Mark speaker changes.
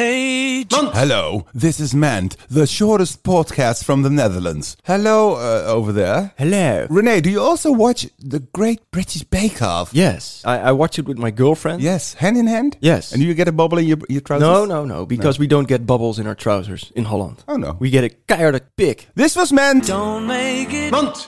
Speaker 1: Hey, John.
Speaker 2: Hello, this is Mand, the shortest podcast from the Netherlands. Hello, uh, over there.
Speaker 1: Hello.
Speaker 2: Renee, do you also watch The Great British Bake Off?
Speaker 1: Yes, I, I watch it with my girlfriend.
Speaker 2: Yes, hand in hand?
Speaker 1: Yes.
Speaker 2: And do you get a bubble in your, your trousers?
Speaker 1: No, no, no, because we don't get bubbles in our trousers in Holland.
Speaker 2: Oh, no.
Speaker 1: We get a keiharde pik.
Speaker 2: This was Mand.
Speaker 3: Don't make it.
Speaker 2: Mand.